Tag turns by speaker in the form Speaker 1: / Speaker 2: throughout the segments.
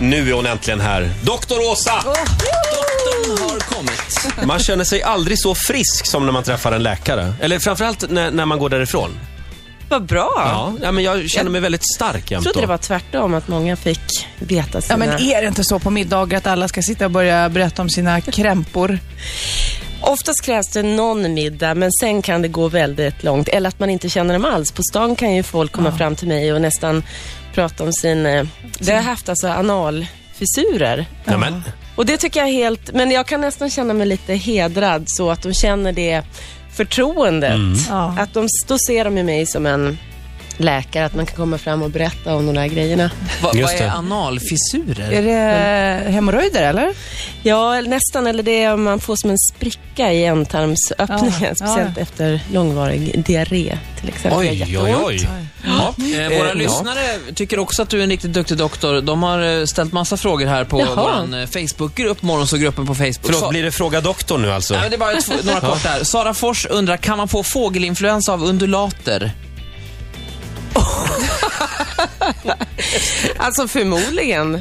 Speaker 1: Nu är hon äntligen här. Doktor Åsa!
Speaker 2: Doktorn har kommit.
Speaker 1: Man känner sig aldrig så frisk som när man träffar en läkare. Eller framförallt när, när man går därifrån.
Speaker 3: Vad bra.
Speaker 1: Ja, ja men jag känner mig väldigt stark
Speaker 3: Jag
Speaker 1: jämt
Speaker 3: trodde det var
Speaker 1: då.
Speaker 3: tvärtom, att många fick veta sina...
Speaker 4: Ja, men är det inte så på middagar att alla ska sitta och börja berätta om sina krämpor?
Speaker 3: Oftast krävs det någon middag, men sen kan det gå väldigt långt. Eller att man inte känner dem alls. På stan kan ju folk komma fram till mig och nästan prata om sin... eh, Det har jag haft alltså analfissurer.
Speaker 1: Ja, men,
Speaker 3: Och det tycker jag är helt... Men jag kan nästan känna mig lite hedrad så att de känner det förtroendet.
Speaker 4: Ja.
Speaker 3: Att de, då ser de ju mig som en läkare, att man kan komma fram och berätta om de där grejerna.
Speaker 2: Va,
Speaker 1: Just
Speaker 2: vad
Speaker 1: det.
Speaker 2: är analfissurer?
Speaker 4: Är det hemorrojder eller?
Speaker 3: Ja, nästan. Eller det är om man får som en spricka i ändtarmsöppningen.
Speaker 4: Ja, ja.
Speaker 3: speciellt efter långvarig diarré till exempel. Det gör
Speaker 1: Oj, oj,
Speaker 3: jätteont.
Speaker 1: oj. Ja.
Speaker 2: Eh, våra
Speaker 1: Eh,
Speaker 2: lyssnare tycker också att du är en riktigt duktig doktor. De har eh, ställt massa frågor här på
Speaker 3: Jaha.
Speaker 2: vår Facebookgrupp, Morgonsågruppen på Facebook. Sa-
Speaker 1: Förlåt, blir det Fråga doktorn nu alltså?
Speaker 2: Nej, men det är bara två, några kort där. Sara Fors undrar, kan man få fågelinfluensa av undulater?
Speaker 3: Alltså förmodligen.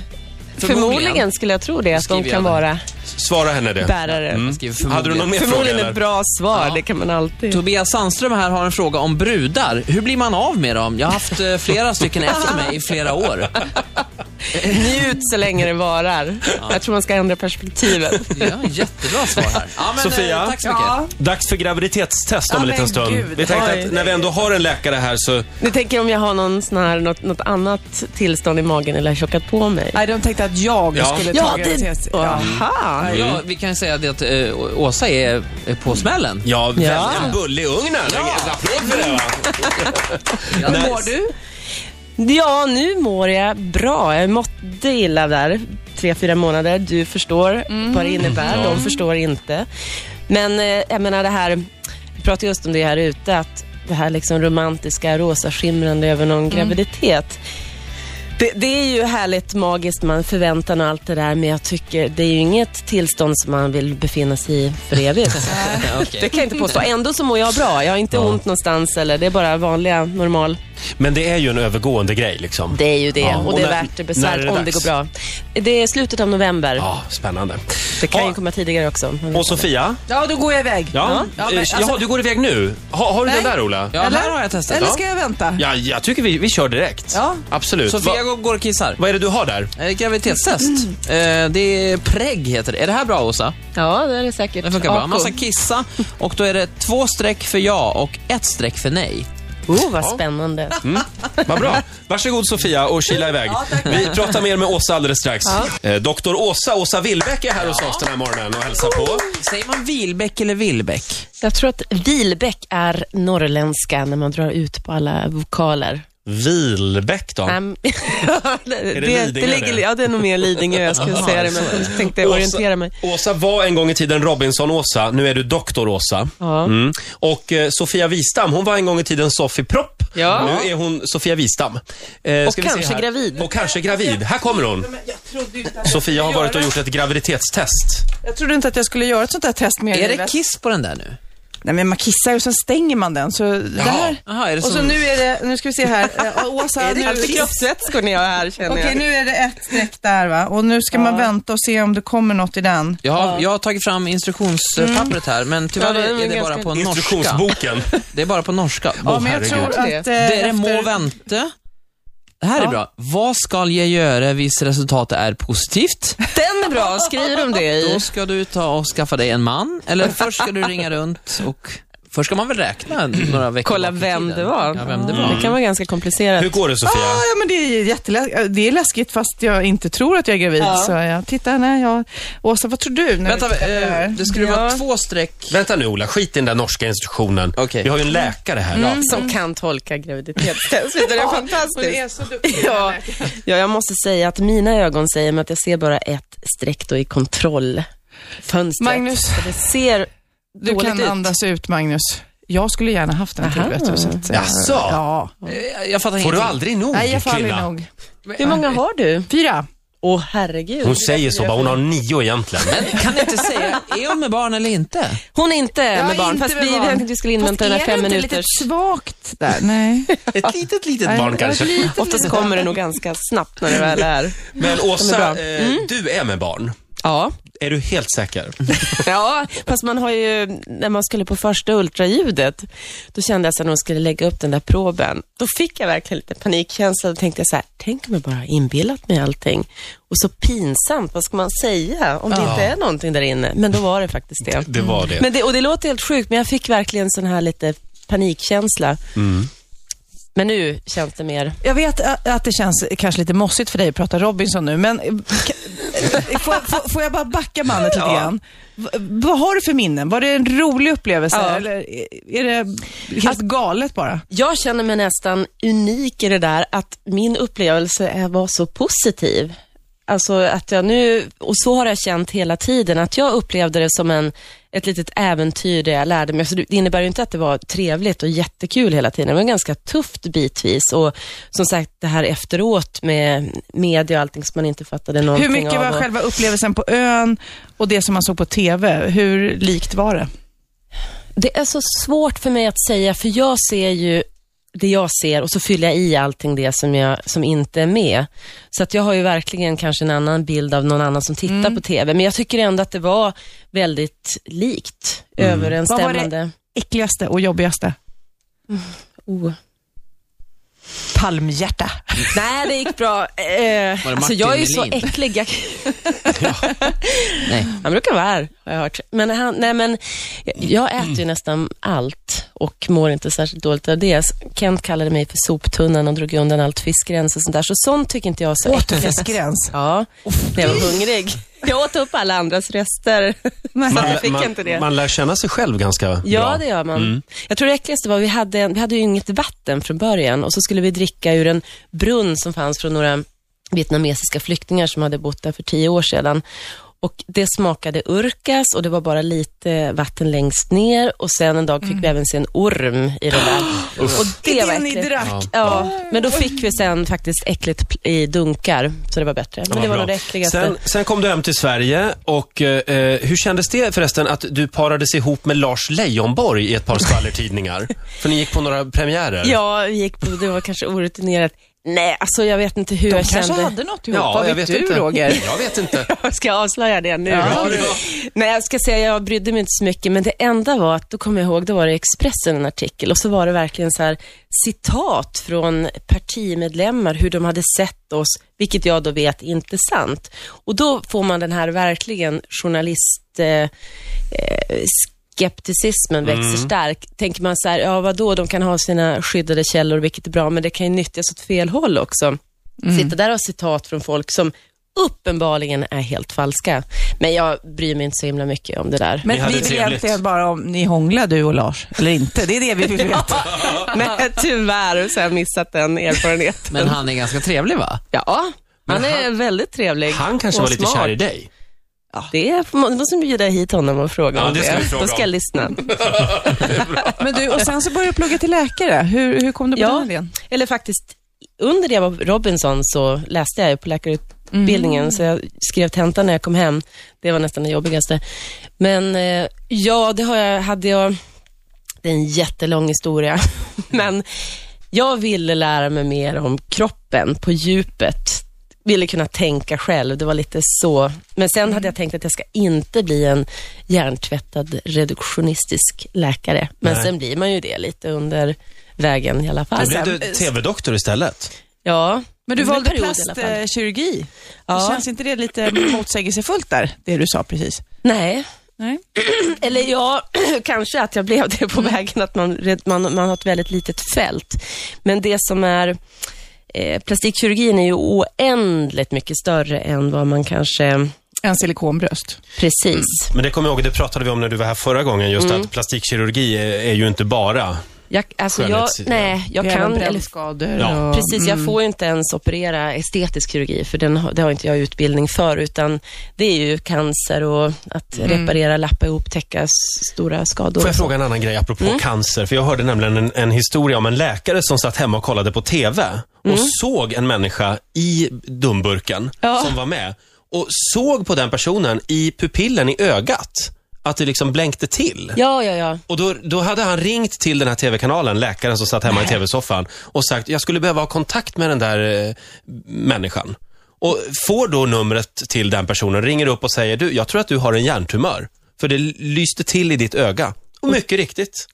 Speaker 3: Förmodligen skulle jag tro det, att de
Speaker 2: skriver
Speaker 3: kan
Speaker 2: jag där.
Speaker 3: vara
Speaker 1: Svara henne det.
Speaker 3: bärare.
Speaker 2: Jag skriver förmodligen.
Speaker 1: Hade du någon Mm. mer fråga
Speaker 3: Förmodligen ett
Speaker 1: eller?
Speaker 3: bra svar,
Speaker 2: Ja.
Speaker 3: det kan man alltid.
Speaker 2: Tobias Sandström här har en fråga om brudar. Hur blir man av med dem? Jag har haft eh, flera stycken efter mig i flera år.
Speaker 3: Njut så länge det varar. Jag tror man ska ändra perspektivet.
Speaker 2: Ja, jättebra svar här. Ja, men, eh,
Speaker 1: Sofia?
Speaker 2: Tack så mycket.
Speaker 1: Dags för graviditetstest om
Speaker 4: Ja,
Speaker 1: en liten
Speaker 4: men
Speaker 1: stund.
Speaker 4: gud.
Speaker 1: Vi tänkte
Speaker 3: Oj.
Speaker 1: att när vi ändå har en läkare här så...
Speaker 3: Nu tänker jag om jag har någon sån här, något, något annat tillstånd i magen eller har tjockat på mig.
Speaker 4: Nej, de tänkte att jag
Speaker 1: Ja.
Speaker 4: skulle
Speaker 3: Ja,
Speaker 4: ta
Speaker 3: det...
Speaker 4: graviditet. Ja.
Speaker 3: Aha.
Speaker 2: Ja, vi kan ju säga det att eh, Å- Åsa är eh, på smällen.
Speaker 1: Ja,
Speaker 3: Ja. Mm.
Speaker 1: en bullig ugn här. En applåd för det va?
Speaker 2: Hur
Speaker 1: mår
Speaker 2: du?
Speaker 3: Ja, nu mår jag bra. Jag mådde illa där, tre, fyra månader. Du förstår vad det innebär, de förstår inte. Men eh, jag menar det här, vi pratade just om det här ute, att det här liksom romantiska, rosa skimrande över någon graviditet. Det, det är ju härligt, magiskt, man förväntar och allt det där, men jag tycker det är ju inget tillstånd som man vill befinna sig i för evigt. Det kan jag inte påstå. Ändå så mår jag bra. Jag har inte ont någonstans eller det är bara vanliga, normal
Speaker 1: Men det är ju en övergående grej liksom.
Speaker 3: det är ju det
Speaker 1: Ja,
Speaker 3: och,
Speaker 1: och
Speaker 3: det är
Speaker 1: när-
Speaker 3: värt
Speaker 1: när
Speaker 3: det
Speaker 1: är det
Speaker 3: besväret om det
Speaker 1: dags?
Speaker 3: går bra. Det är slutet av november.
Speaker 1: Ja, spännande.
Speaker 3: Det kan
Speaker 1: Ja.
Speaker 3: ju komma tidigare också.
Speaker 1: Och Sofia?
Speaker 4: ja, då går jag iväg.
Speaker 1: Ja, Eh,
Speaker 4: Ja,
Speaker 1: ja,
Speaker 4: men
Speaker 1: Jaha,
Speaker 4: alltså-
Speaker 1: du går iväg nu? Ha, har du den
Speaker 4: Nej.
Speaker 1: där Ola?
Speaker 2: Ja, här har jag testat.
Speaker 4: Eller
Speaker 2: Ja.
Speaker 4: ska jag vänta?
Speaker 1: Ja, jag tycker vi, vi kör direkt.
Speaker 4: Ja.
Speaker 1: Absolut.
Speaker 2: Sofia
Speaker 1: Va,
Speaker 2: går- går och kissar.
Speaker 1: vad är det du har där?
Speaker 2: Eh, graviditetstest. Eh, det är PREG heter det. Är det här bra Åsa?
Speaker 3: Ja, det är det säkert.
Speaker 2: Det funkar bra.
Speaker 3: Ako.
Speaker 2: Man ska kissa och då är det två streck för ja och ett streck för nej.
Speaker 3: Oh, vad spännande.
Speaker 1: Vad bra. Varsågod Sofia och kila iväg. vi pratar mer med Åsa alldeles strax. Eh, Doktor Åsa, Åsa Willbäck är här hos oss den här morgonen och hälsar på.
Speaker 2: Säger man Vilbäck eller Vilbäck?
Speaker 3: Jag tror att Vilbäck är norrländska när man drar ut på alla vokaler.
Speaker 1: Willbäck då?
Speaker 3: Äm, det, det, det,
Speaker 1: Lidingö
Speaker 3: ligger,
Speaker 1: det?
Speaker 3: ja, det är nog mer Lidingö jag skulle säga det, men jag tänkte orientera mig.
Speaker 1: Åsa, Åsa var en gång i tiden Robinson-Åsa, nu är du Doktor Åsa.
Speaker 3: Ja.
Speaker 1: Mm. Och eh, Sofia Wistam, hon var en gång i tiden Sofie Propp.
Speaker 3: Ja.
Speaker 1: Nu är hon Sofia Wistam. Eh, ska vi se
Speaker 3: kanske
Speaker 1: här.
Speaker 3: gravid.
Speaker 1: Och kanske gravid. Här kommer hon.
Speaker 4: Jag trodde inte att jag
Speaker 1: Sofia har varit och gjort ett graviditetstest.
Speaker 4: Jag trodde inte att jag skulle göra ett sånt där test med
Speaker 2: Är det kiss på den där nu?
Speaker 4: Nej, men man kissar ju och sen stänger man den. Så det här.
Speaker 2: Jaha, är det
Speaker 4: Och så
Speaker 2: som-
Speaker 4: nu är det, nu ska vi se här. Eh, Åsa, nu...
Speaker 3: Allt kroppsvätskor ni har här känner
Speaker 4: Okej,
Speaker 3: jag.
Speaker 4: nu är det ett streck där va? Och nu ska man vänta och se om det kommer något i den.
Speaker 2: Jag har, jag har tagit fram instruktionspappret här, men tyvärr
Speaker 3: Ja, det är
Speaker 2: är det
Speaker 3: ganska-
Speaker 2: bara på norska.
Speaker 1: Instruktionsboken.
Speaker 2: Det är bara på norska.
Speaker 4: Ja, men jag tror
Speaker 1: herregud.
Speaker 4: att...
Speaker 3: Det är
Speaker 4: eh,
Speaker 2: Det är det må
Speaker 4: efter-
Speaker 2: vänta. Det här är
Speaker 4: Ja.
Speaker 2: bra. Vad ska jag göra hvis resultatet är positivt?
Speaker 3: Den är bra, skriver de det i.
Speaker 2: Då ska du ta och skaffa dig en man, eller först ska du ringa runt och Först ska man väl räkna några veckor
Speaker 3: Kolla
Speaker 2: bak i
Speaker 3: vem
Speaker 2: tiden.
Speaker 3: det var. Mm.
Speaker 2: Ja, vem det var.
Speaker 3: Det kan vara ganska komplicerat.
Speaker 1: Hur går det Sofia?
Speaker 4: Ah, ja, men det är jätteläskigt. Det är läskigt fast jag inte tror att jag är gravid. Så jag, titta, nej, jag... Åsa, vad tror du? När
Speaker 2: Vänta,
Speaker 4: vi tittar på det
Speaker 2: eh,
Speaker 4: här?
Speaker 2: det skulle
Speaker 3: Ja.
Speaker 2: vara två streck.
Speaker 1: Vänta nu Ola, skit i den där norska instruktionen.
Speaker 2: Okej.
Speaker 1: Vi har ju en läkare här. Ja.
Speaker 3: som kan tolka graviditetstest. Det är
Speaker 4: Hon
Speaker 3: fantastiskt.
Speaker 4: är så duktig.
Speaker 3: Ja, ja, jag måste säga att mina ögon säger mig att jag ser bara ett streck då i kontrollfönstret.
Speaker 4: Magnus.
Speaker 3: Så Det ser
Speaker 4: Du
Speaker 3: dåligt
Speaker 4: kan
Speaker 3: ut.
Speaker 4: andas ut, Magnus. Jag skulle gärna haft den
Speaker 3: Aha.
Speaker 4: tur. Så att, eh,
Speaker 1: Jaså?
Speaker 4: Ja.
Speaker 2: Eh, Jag fattar
Speaker 1: Får du
Speaker 2: ingenting.
Speaker 1: aldrig nog
Speaker 4: Nej, jag faller
Speaker 1: kvinna?
Speaker 4: nog.
Speaker 3: Hur många har du?
Speaker 4: Fyra.
Speaker 3: Åh herregud.
Speaker 1: Hon säger så bara, hon har nio egentligen.
Speaker 2: Men kan ni inte säga, är hon med barn eller inte?
Speaker 3: Hon är inte
Speaker 4: Jag
Speaker 3: med
Speaker 4: är
Speaker 3: barn,
Speaker 4: inte
Speaker 3: fast
Speaker 4: med
Speaker 3: vi,
Speaker 4: barn.
Speaker 3: jag tänkte vi skulle
Speaker 4: Fast
Speaker 3: invänta den här
Speaker 4: är det
Speaker 3: fem
Speaker 4: inte lite
Speaker 3: minuters...
Speaker 4: svagt där? Nej.
Speaker 1: Ett litet, litet
Speaker 4: Nej,
Speaker 1: barn
Speaker 4: ett
Speaker 1: kanske.
Speaker 4: litet,
Speaker 3: Oftast
Speaker 4: litet.
Speaker 3: kommer det nog ganska snabbt när det väl är.
Speaker 1: Men
Speaker 3: är
Speaker 1: Åsa,
Speaker 3: bra.
Speaker 1: eh, du är med barn.
Speaker 3: Ja.
Speaker 1: Är du helt säker?
Speaker 3: Ja, fast man har ju, när man skulle på första ultraljudet, då kände jag sen när de skulle lägga upp den där proben, då fick jag verkligen lite panikkänsla. Då tänkte jag så här, tänk om jag bara har inbillat mig allting. Och så pinsamt, vad ska man säga om det inte är någonting där inne? Men då var det faktiskt det.
Speaker 1: Det var det.
Speaker 3: Men det och det låter helt sjukt, men jag fick verkligen sån här lite panikkänsla. Men nu känns det mer...
Speaker 4: Jag vet ä, att det känns kanske lite mossigt för dig att prata Robinson nu, men eh, ka- får, får, får jag bara backa bandet lite grann? V- Vad har du för minnen? Var det en rolig upplevelse
Speaker 3: Ja.
Speaker 4: eller är- är det helt galet bara?
Speaker 3: Jag känner mig nästan unik i det där att min upplevelse är- var så positiv. Alltså att jag nu, och så har jag känt hela tiden, att jag upplevde det som en, ett litet äventyr där jag lärde mig. Så det innebär ju inte att det var trevligt och jättekul hela tiden, det var ganska tufft bitvis. Och som sagt, det här efteråt med media och allting som man inte fattade någonting
Speaker 4: Hur mycket
Speaker 3: av.
Speaker 4: var
Speaker 3: och-
Speaker 4: själva upplevelsen på ön och det som man såg på TV? Hur likt var det?
Speaker 3: Det är så svårt för mig att säga, för jag ser ju det jag ser och så fyller jag i allting det som, jag, som inte är med. Så att jag har ju verkligen kanske en annan bild av någon annan som tittar
Speaker 4: Mm.
Speaker 3: på TV. Men jag tycker ändå att det var väldigt likt,
Speaker 4: Mm. Vad var
Speaker 3: överensstämmande.
Speaker 4: Äckligaste och jobbigaste?
Speaker 3: Oh.
Speaker 4: Palmhjärta.
Speaker 3: Nej, det gick bra. Eh, alltså
Speaker 2: Martin
Speaker 3: jag är ju så
Speaker 2: Melin?
Speaker 3: äcklig. Jag,
Speaker 2: Nej.
Speaker 3: han brukar vara här, har jag hört. Men, han, nej, men jag äter ju nästan allt och mår inte särskilt dåligt av det. Kent kallade mig för soptunnan och drog undan allt fiskgräns och sånt där. Så sånt tycker inte jag är så äckligt.
Speaker 4: Återfisksgräns.
Speaker 3: Ja, när jag var hungrig. Jag åt upp alla andras rester. Så
Speaker 1: Man,
Speaker 3: jag fick
Speaker 1: man,
Speaker 3: inte det.
Speaker 1: man lär känna sig själv ganska bra. Mm.
Speaker 3: Ja, det gör man. Jag tror det äckligaste var, vi hade, en- vi hade ju inget vatten från början och så skulle vi dricka ur en brunn som fanns från några vietnamesiska flyktingar som hade bott där för tio år sedan. Och Det smakade urkas och det var bara lite vatten längst ner och sen en dag fick
Speaker 4: Mm.
Speaker 3: vi även se en orm i det där. och det var
Speaker 4: det ni
Speaker 3: äckligt.
Speaker 4: drack.
Speaker 3: Ja, men då fick vi sen faktiskt äckligt pl- i dunkar, så det var bättre. Men det
Speaker 1: Vad
Speaker 3: var nog det
Speaker 1: bra.
Speaker 3: äckligaste.
Speaker 1: sen, sen kom du hem till Sverige och eh, hur kändes det förresten att du parades ihop med Lars Leijonborg i ett par skvallertidningar? För ni gick på några premiärer.
Speaker 3: Ja, vi gick på, det var kanske orutinerat. Nej, alltså jag vet inte hur
Speaker 4: De
Speaker 3: jag
Speaker 4: kanske
Speaker 3: kände.
Speaker 4: hade något ihop. Vad vet, du Roger?
Speaker 1: Jag vet inte.
Speaker 3: Ska jag avslöja det nu?
Speaker 1: Ja, det
Speaker 3: Nej, jag ska säga jag brydde mig inte så mycket, men det enda var att, då kommer jag ihåg, då var det i Expressen en artikel och så var det verkligen så här citat från partimedlemmar, hur de hade sett oss, vilket jag då vet inte är sant. Och då får man den här verkligen journalist... Eh, eh, skepticismen växer
Speaker 1: Mm.
Speaker 3: stark. Tänker man så här, ja vadå, de kan ha sina skyddade källor, vilket är bra, men det kan ju nyttjas åt fel håll också. Sitta där och ha citat från folk som uppenbarligen är helt falska. Men jag bryr mig inte så himla mycket om det där.
Speaker 1: Ni
Speaker 4: Men
Speaker 1: hade
Speaker 4: vi vill
Speaker 1: trevligt.
Speaker 4: egentligen bara om ni hånglar du och Lars, eller inte. Det är det vi vill veta.
Speaker 3: Men tyvärr så har jag missat den erfarenheten.
Speaker 2: Men han är ganska trevlig va?
Speaker 3: ja, han är väldigt trevlig.
Speaker 1: Han kanske
Speaker 3: och
Speaker 1: var lite
Speaker 3: smart.
Speaker 1: kär i dig.
Speaker 3: Det får man- då måste vi bjuda hit honom och fråga
Speaker 1: Ja,
Speaker 3: om
Speaker 1: det ska vi fråga
Speaker 3: Då ska jag
Speaker 1: om.
Speaker 3: lyssna.
Speaker 4: Men du, och sen så började du plugga till läkare. Hur, hur kom du på
Speaker 3: Ja.
Speaker 4: den idén?
Speaker 3: Eller faktiskt, under det jag var på Robinson så läste jag ju på läkarutbildningen, så jag skrev tenta när jag kom hem. Det var nästan det jobbigaste. Men eh, ja, det har jag, hade jag... Det är en jättelång historia, men jag ville lära mig mer om kroppen på djupet. Ville kunna tänka själv, det var lite så. Men sen hade jag tänkt att jag ska inte bli en hjärntvättad reduktionistisk läkare. Men
Speaker 1: Nej.
Speaker 3: sen blir man ju det lite under vägen i alla fall.
Speaker 1: Då blev du TV-doktor istället.
Speaker 3: Ja.
Speaker 4: Men du
Speaker 3: under
Speaker 4: valde
Speaker 3: period i alla fall.
Speaker 4: plastkirurgi.
Speaker 3: Ja.
Speaker 4: Känns inte det lite motsägelsefullt där, det du sa precis?
Speaker 3: Nej.
Speaker 4: Nej.
Speaker 3: Eller ja, kanske att jag blev det på vägen, att man, red- man, man har ett väldigt litet fält. Men det som är... Eh, plastikkirurgin är ju oändligt mycket större än vad man kanske...
Speaker 4: En silikonbröst.
Speaker 3: Precis.
Speaker 1: Men det kommer jag ihåg, det pratade vi om när du var här förra gången, just
Speaker 3: Mm.
Speaker 1: att plastikkirurgi är, är ju inte bara...
Speaker 3: Jag, alltså jag,
Speaker 1: Skönhetssidan.
Speaker 3: nej, jag kan... Eller,
Speaker 4: brännskador
Speaker 1: Ja.
Speaker 4: och...
Speaker 3: precis, jag får ju inte ens operera estetisk kirurgi, för den, har- det har inte jag utbildning för, utan det är ju cancer och att reparera, lappa ihop, täcka s- stora skador.
Speaker 1: Får jag fråga en annan grej apropå cancer? För jag hörde nämligen en, en historia om en läkare som satt hemma och kollade på TV. och såg en människa i dumburken
Speaker 3: Ja.
Speaker 1: som var med och såg på den personen i pupillen i ögat att det liksom blänkte till.
Speaker 3: Ja, ja, ja.
Speaker 1: Och då, då hade han ringt till den här TV-kanalen, läkaren som satt hemma i TV-soffan och sagt, jag skulle behöva ha kontakt med den där eh, människan. Och får då numret till den personen, ringer upp och säger, du, jag tror att du har en hjärntumör. För det lyste till i ditt öga. Och mycket riktigt.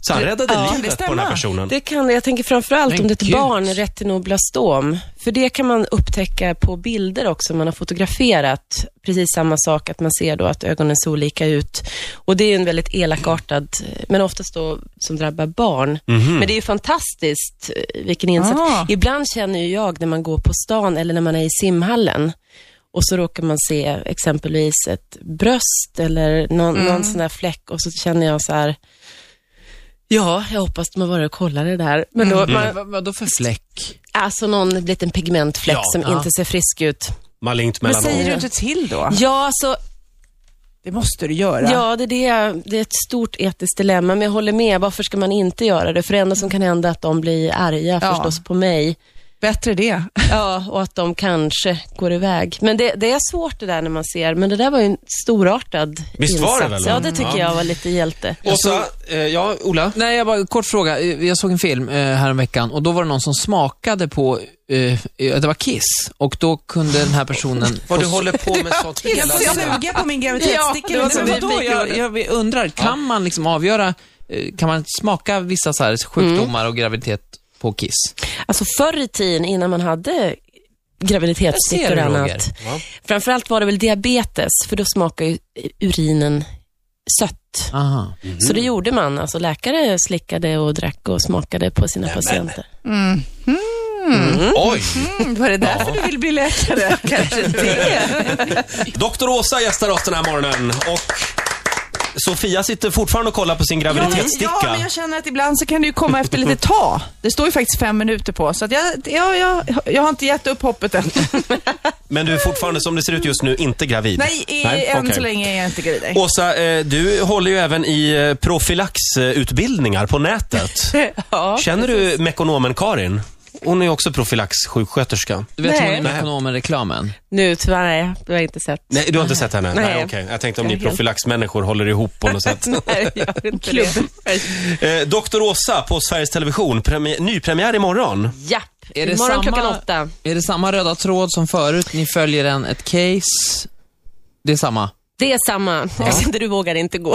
Speaker 1: Så han räddade
Speaker 4: ja, det
Speaker 1: livet på den
Speaker 4: stämmer.
Speaker 1: här personen.
Speaker 3: Det kan det. Jag tänker framförallt
Speaker 2: Men
Speaker 3: om det är ett
Speaker 2: gud.
Speaker 3: barn, retinoblastom. För det kan man upptäcka på bilder också, man har fotograferat. Precis samma sak, att man ser då att ögonen ser olika ut. Och det är ju en väldigt elakartad, men oftast då som drabbar barn.
Speaker 2: Mhm.
Speaker 3: Men det är ju fantastiskt eh, vilken insats.
Speaker 4: Ah.
Speaker 3: Ibland känner ju jag när man går på stan eller när man är i simhallen och så råkar man se exempelvis ett bröst eller någon, någon sån där fläck och så känner jag så här, Ja, jag hoppas de har varit och kollat det där. Men då,
Speaker 4: Mm.
Speaker 3: man,
Speaker 2: Vad, vadå för fläck?
Speaker 3: alltså någon liten pigmentfläck
Speaker 1: Ja,
Speaker 3: som
Speaker 2: ja.
Speaker 3: inte ser frisk ut.
Speaker 1: Malignt
Speaker 4: Men
Speaker 1: mellan
Speaker 4: säger du inte till då?
Speaker 3: Ja, alltså,
Speaker 4: Det måste du göra.
Speaker 3: ja det, är det, det är ett stort etiskt dilemma, men jag håller med. Varför ska man inte göra det? För det enda som kan hända är att de blir arga
Speaker 4: Ja.
Speaker 3: förstås på mig.
Speaker 4: Bättre det.
Speaker 3: Ja, och att de kanske går iväg. Men det, det är svårt det där när man ser, men det där var ju en storartad
Speaker 1: Visst var
Speaker 3: insats.
Speaker 1: det väl?
Speaker 3: Ja, det tycker
Speaker 1: Ja.
Speaker 3: jag var lite hjälte.
Speaker 1: Åsa, eh, ja, Ola?
Speaker 2: Nej, jag bara, kort fråga. Eh, Jag såg en film eh, häromveckan och då var det någon som smakade på, eh, eh, det var Kiss. Och då kunde den här personen...
Speaker 1: Vad
Speaker 2: få-
Speaker 1: du håller på med sånt hela
Speaker 4: Jag ska
Speaker 1: tiden.
Speaker 4: suga på min
Speaker 2: det var
Speaker 4: graviditetsstickare.
Speaker 2: så
Speaker 4: Men vadå?
Speaker 2: vi- jag, jag undrar, kan man liksom avgöra, eh, kan man smaka vissa så här sjukdomar och graviditet på Kiss?
Speaker 3: Alltså förr i tiden innan man hade
Speaker 2: Jag ser
Speaker 3: graviditetsstickor
Speaker 2: det,
Speaker 3: och
Speaker 2: Roger.
Speaker 3: annat. Framförallt var det väl diabetes, för då smakar ju urinen sött.
Speaker 2: Aha.
Speaker 3: Så det gjorde man. Alltså läkare slickade och drack och smakade på sina patienter.
Speaker 1: Oj!
Speaker 4: Mm, Var det därför du vill bli läkare? Kanske det.
Speaker 1: Doktor Åsa gästar oss den här morgonen och Sofia sitter fortfarande och kollar på sin
Speaker 4: Ja men,
Speaker 1: graviditetssticka.
Speaker 4: ja, men jag känner att ibland så kan det ju komma efter lite ta. Det står ju faktiskt fem minuter på, så att jag, jag, jag, jag har inte gett upp hoppet än.
Speaker 1: Men du är fortfarande, som det ser ut just nu, inte gravid?
Speaker 4: Nej, i, än
Speaker 1: okej.
Speaker 4: så länge är jag inte gravid.
Speaker 1: Åsa, eh, du håller ju även i eh, profylaxutbildningar på nätet.
Speaker 3: Ja.
Speaker 1: Känner du mekonomen Karin? Hon är ju också profylaxsjuksköterska.
Speaker 2: Du vet
Speaker 3: Nej.
Speaker 2: hon är ekonomen-reklamen?
Speaker 3: Nu tyvärr, nej, det har jag inte sett.
Speaker 1: Nej, du har inte sett henne?
Speaker 3: Nej.
Speaker 1: okej. Jag tänkte om ni profylaxmänniskor håller ihop på något sätt.
Speaker 3: Nej, jag har inte det.
Speaker 1: Eh, Doktor Åsa på Sveriges Television, premiär, nypremiär imorgon.
Speaker 3: Japp,
Speaker 2: Är det
Speaker 3: imorgon
Speaker 2: samma-
Speaker 3: klockan åtta.
Speaker 2: Är det samma röda tråd som förut? Ni följer en, ett case? Det är samma?
Speaker 3: Det är samma. Jag kände du vågade inte gå,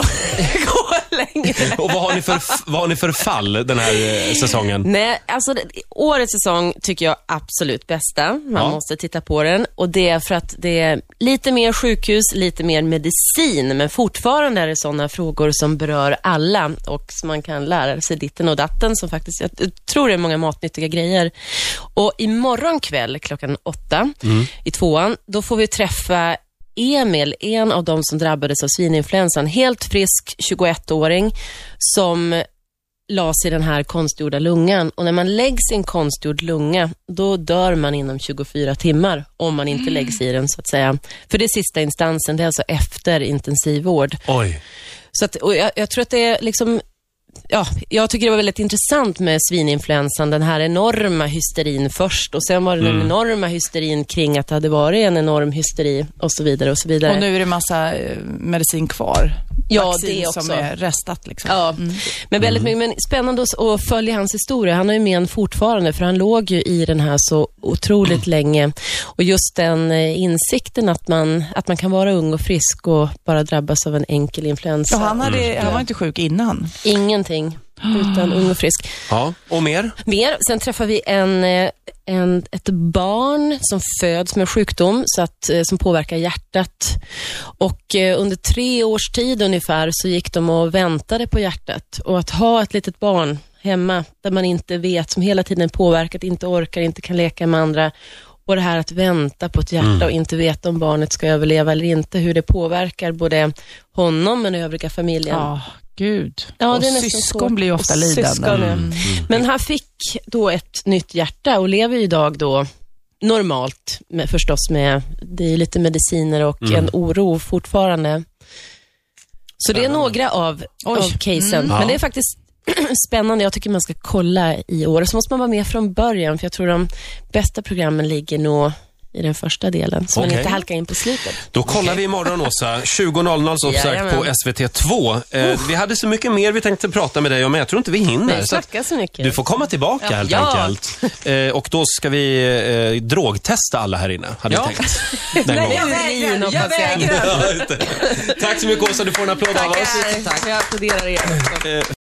Speaker 3: gå längre.
Speaker 1: Och vad har, ni för, vad har ni för fall den här eh, säsongen?
Speaker 3: Nej, alltså det- årets säsong tycker jag absolut bästa. Man
Speaker 1: Ja.
Speaker 3: måste titta på den. Och det är för att det är lite mer sjukhus, lite mer medicin, men fortfarande är det sådana frågor som berör alla och som man kan lära sig ditten och datten som faktiskt, jag tror det är många matnyttiga grejer. Och imorgon kväll klockan åtta
Speaker 1: Mm.
Speaker 3: i tvåan, då får vi träffa Emil, en av de som drabbades av svininfluensan, helt frisk 21-åring som lades i den här konstgjorda lungan. Och när man läggs i en konstgjord lunga, då dör man inom 24 timmar om man inte läggs i den, så att säga. För det är sista instansen, det är alltså efter intensivvård.
Speaker 1: Oj.
Speaker 3: Så att, och jag, jag tror att det är liksom Ja, jag tycker det var väldigt intressant med svininfluensan, den här enorma hysterin först och sen var det den enorma hysterin kring att det hade varit en enorm hysteri och så vidare och så vidare.
Speaker 4: Och nu är det massa eh, medicin kvar.
Speaker 3: Ja,
Speaker 4: Vaccin
Speaker 3: det också.
Speaker 4: som är restat liksom.
Speaker 3: Ja, men väldigt mycket. Men spännande att- att följa hans historia. Han har ju men fortfarande, för han låg ju i den här så otroligt länge. Och just den eh, insikten att man, att man kan vara ung och frisk och bara drabbas av en enkel influensa.
Speaker 4: Och han, hade, han var inte sjuk innan.
Speaker 3: Ingenting, utan ung och frisk.
Speaker 1: Ja, och mer?
Speaker 3: Mer. Sen träffar vi en, eh, en, ett barn som föds med sjukdom så att, eh, som påverkar hjärtat. Och eh, Under tre års tid ungefär så gick de och väntade på hjärtat. Och Att ha ett litet barn hemma där man inte vet, som hela tiden är påverkat, inte orkar, inte kan leka med andra. Och det här att vänta på ett hjärta och inte veta om barnet ska överleva eller inte, hur det påverkar både honom men övriga familjen.
Speaker 4: Ja, gud.
Speaker 3: Ja,
Speaker 4: och
Speaker 3: det är nästan
Speaker 4: syskon
Speaker 3: så.
Speaker 4: blir ju ofta
Speaker 3: Och
Speaker 4: lidande. Mm.
Speaker 3: syskon, ja. Men han fick då ett nytt hjärta och lever ju idag då normalt med, förstås med, det är ju lite mediciner och
Speaker 1: Mm.
Speaker 3: en oro fortfarande. Så det är några av, av casen. Men det är faktiskt spännande. Jag tycker man ska kolla i år. Och så måste man vara med från början, för jag tror de bästa programmen ligger nog i den första delen, så man
Speaker 1: Okej.
Speaker 3: inte halkar in på slutet.
Speaker 1: Då kollar vi imorgon, Åsa. 20.00 som sagt
Speaker 3: Jajamän.
Speaker 1: på SVT2. Eh, vi hade så mycket mer vi tänkte prata med dig om, men jag tror inte vi hinner.
Speaker 3: Nej,
Speaker 1: så att
Speaker 3: snacka så mycket.
Speaker 1: du får komma tillbaka helt
Speaker 3: Ja.
Speaker 1: enkelt. Eh, och då ska vi eh, drogtesta alla här inne, hade
Speaker 2: Ja.
Speaker 1: jag tänkt. Den
Speaker 3: Nej,
Speaker 1: gången.
Speaker 3: urin och patienter.
Speaker 1: Ja, just det. Tack så mycket Åsa, du får en applåd av oss.
Speaker 3: Tackar. Jag applåderar er.
Speaker 1: Eh,